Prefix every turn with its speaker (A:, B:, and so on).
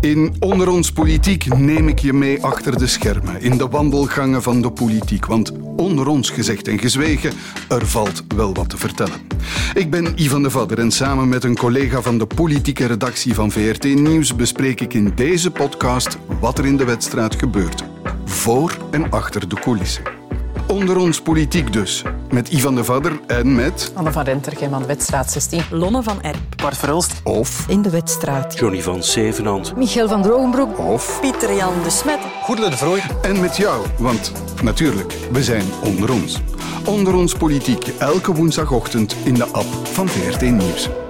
A: In Onder ons Politiek neem ik je mee achter de schermen, in de wandelgangen van de politiek. Want onder ons gezegd en gezwegen, er valt wel wat te vertellen. Ik ben Ivan de Vadder en samen met een collega van de politieke redactie van VRT Nieuws bespreek ik in deze podcast wat er in de wedstrijd gebeurt. Voor en achter de coulissen. Onder ons politiek dus. Met Ivan de Vadder en met...
B: Anne van Rentergem aan Wedstraat 16.
C: Lonne van Erp.
D: Bart Verhulst.
A: Of...
E: In de wedstrijd.
F: Johnny van Zevenand.
G: Michiel van Drogenbroek.
A: Of...
C: Pieter Jan de Smet.
D: Goedele de Vrooi.
A: En met jou, want natuurlijk, we zijn onder ons. Onder ons politiek, elke woensdagochtend in de app van VRT Nieuws.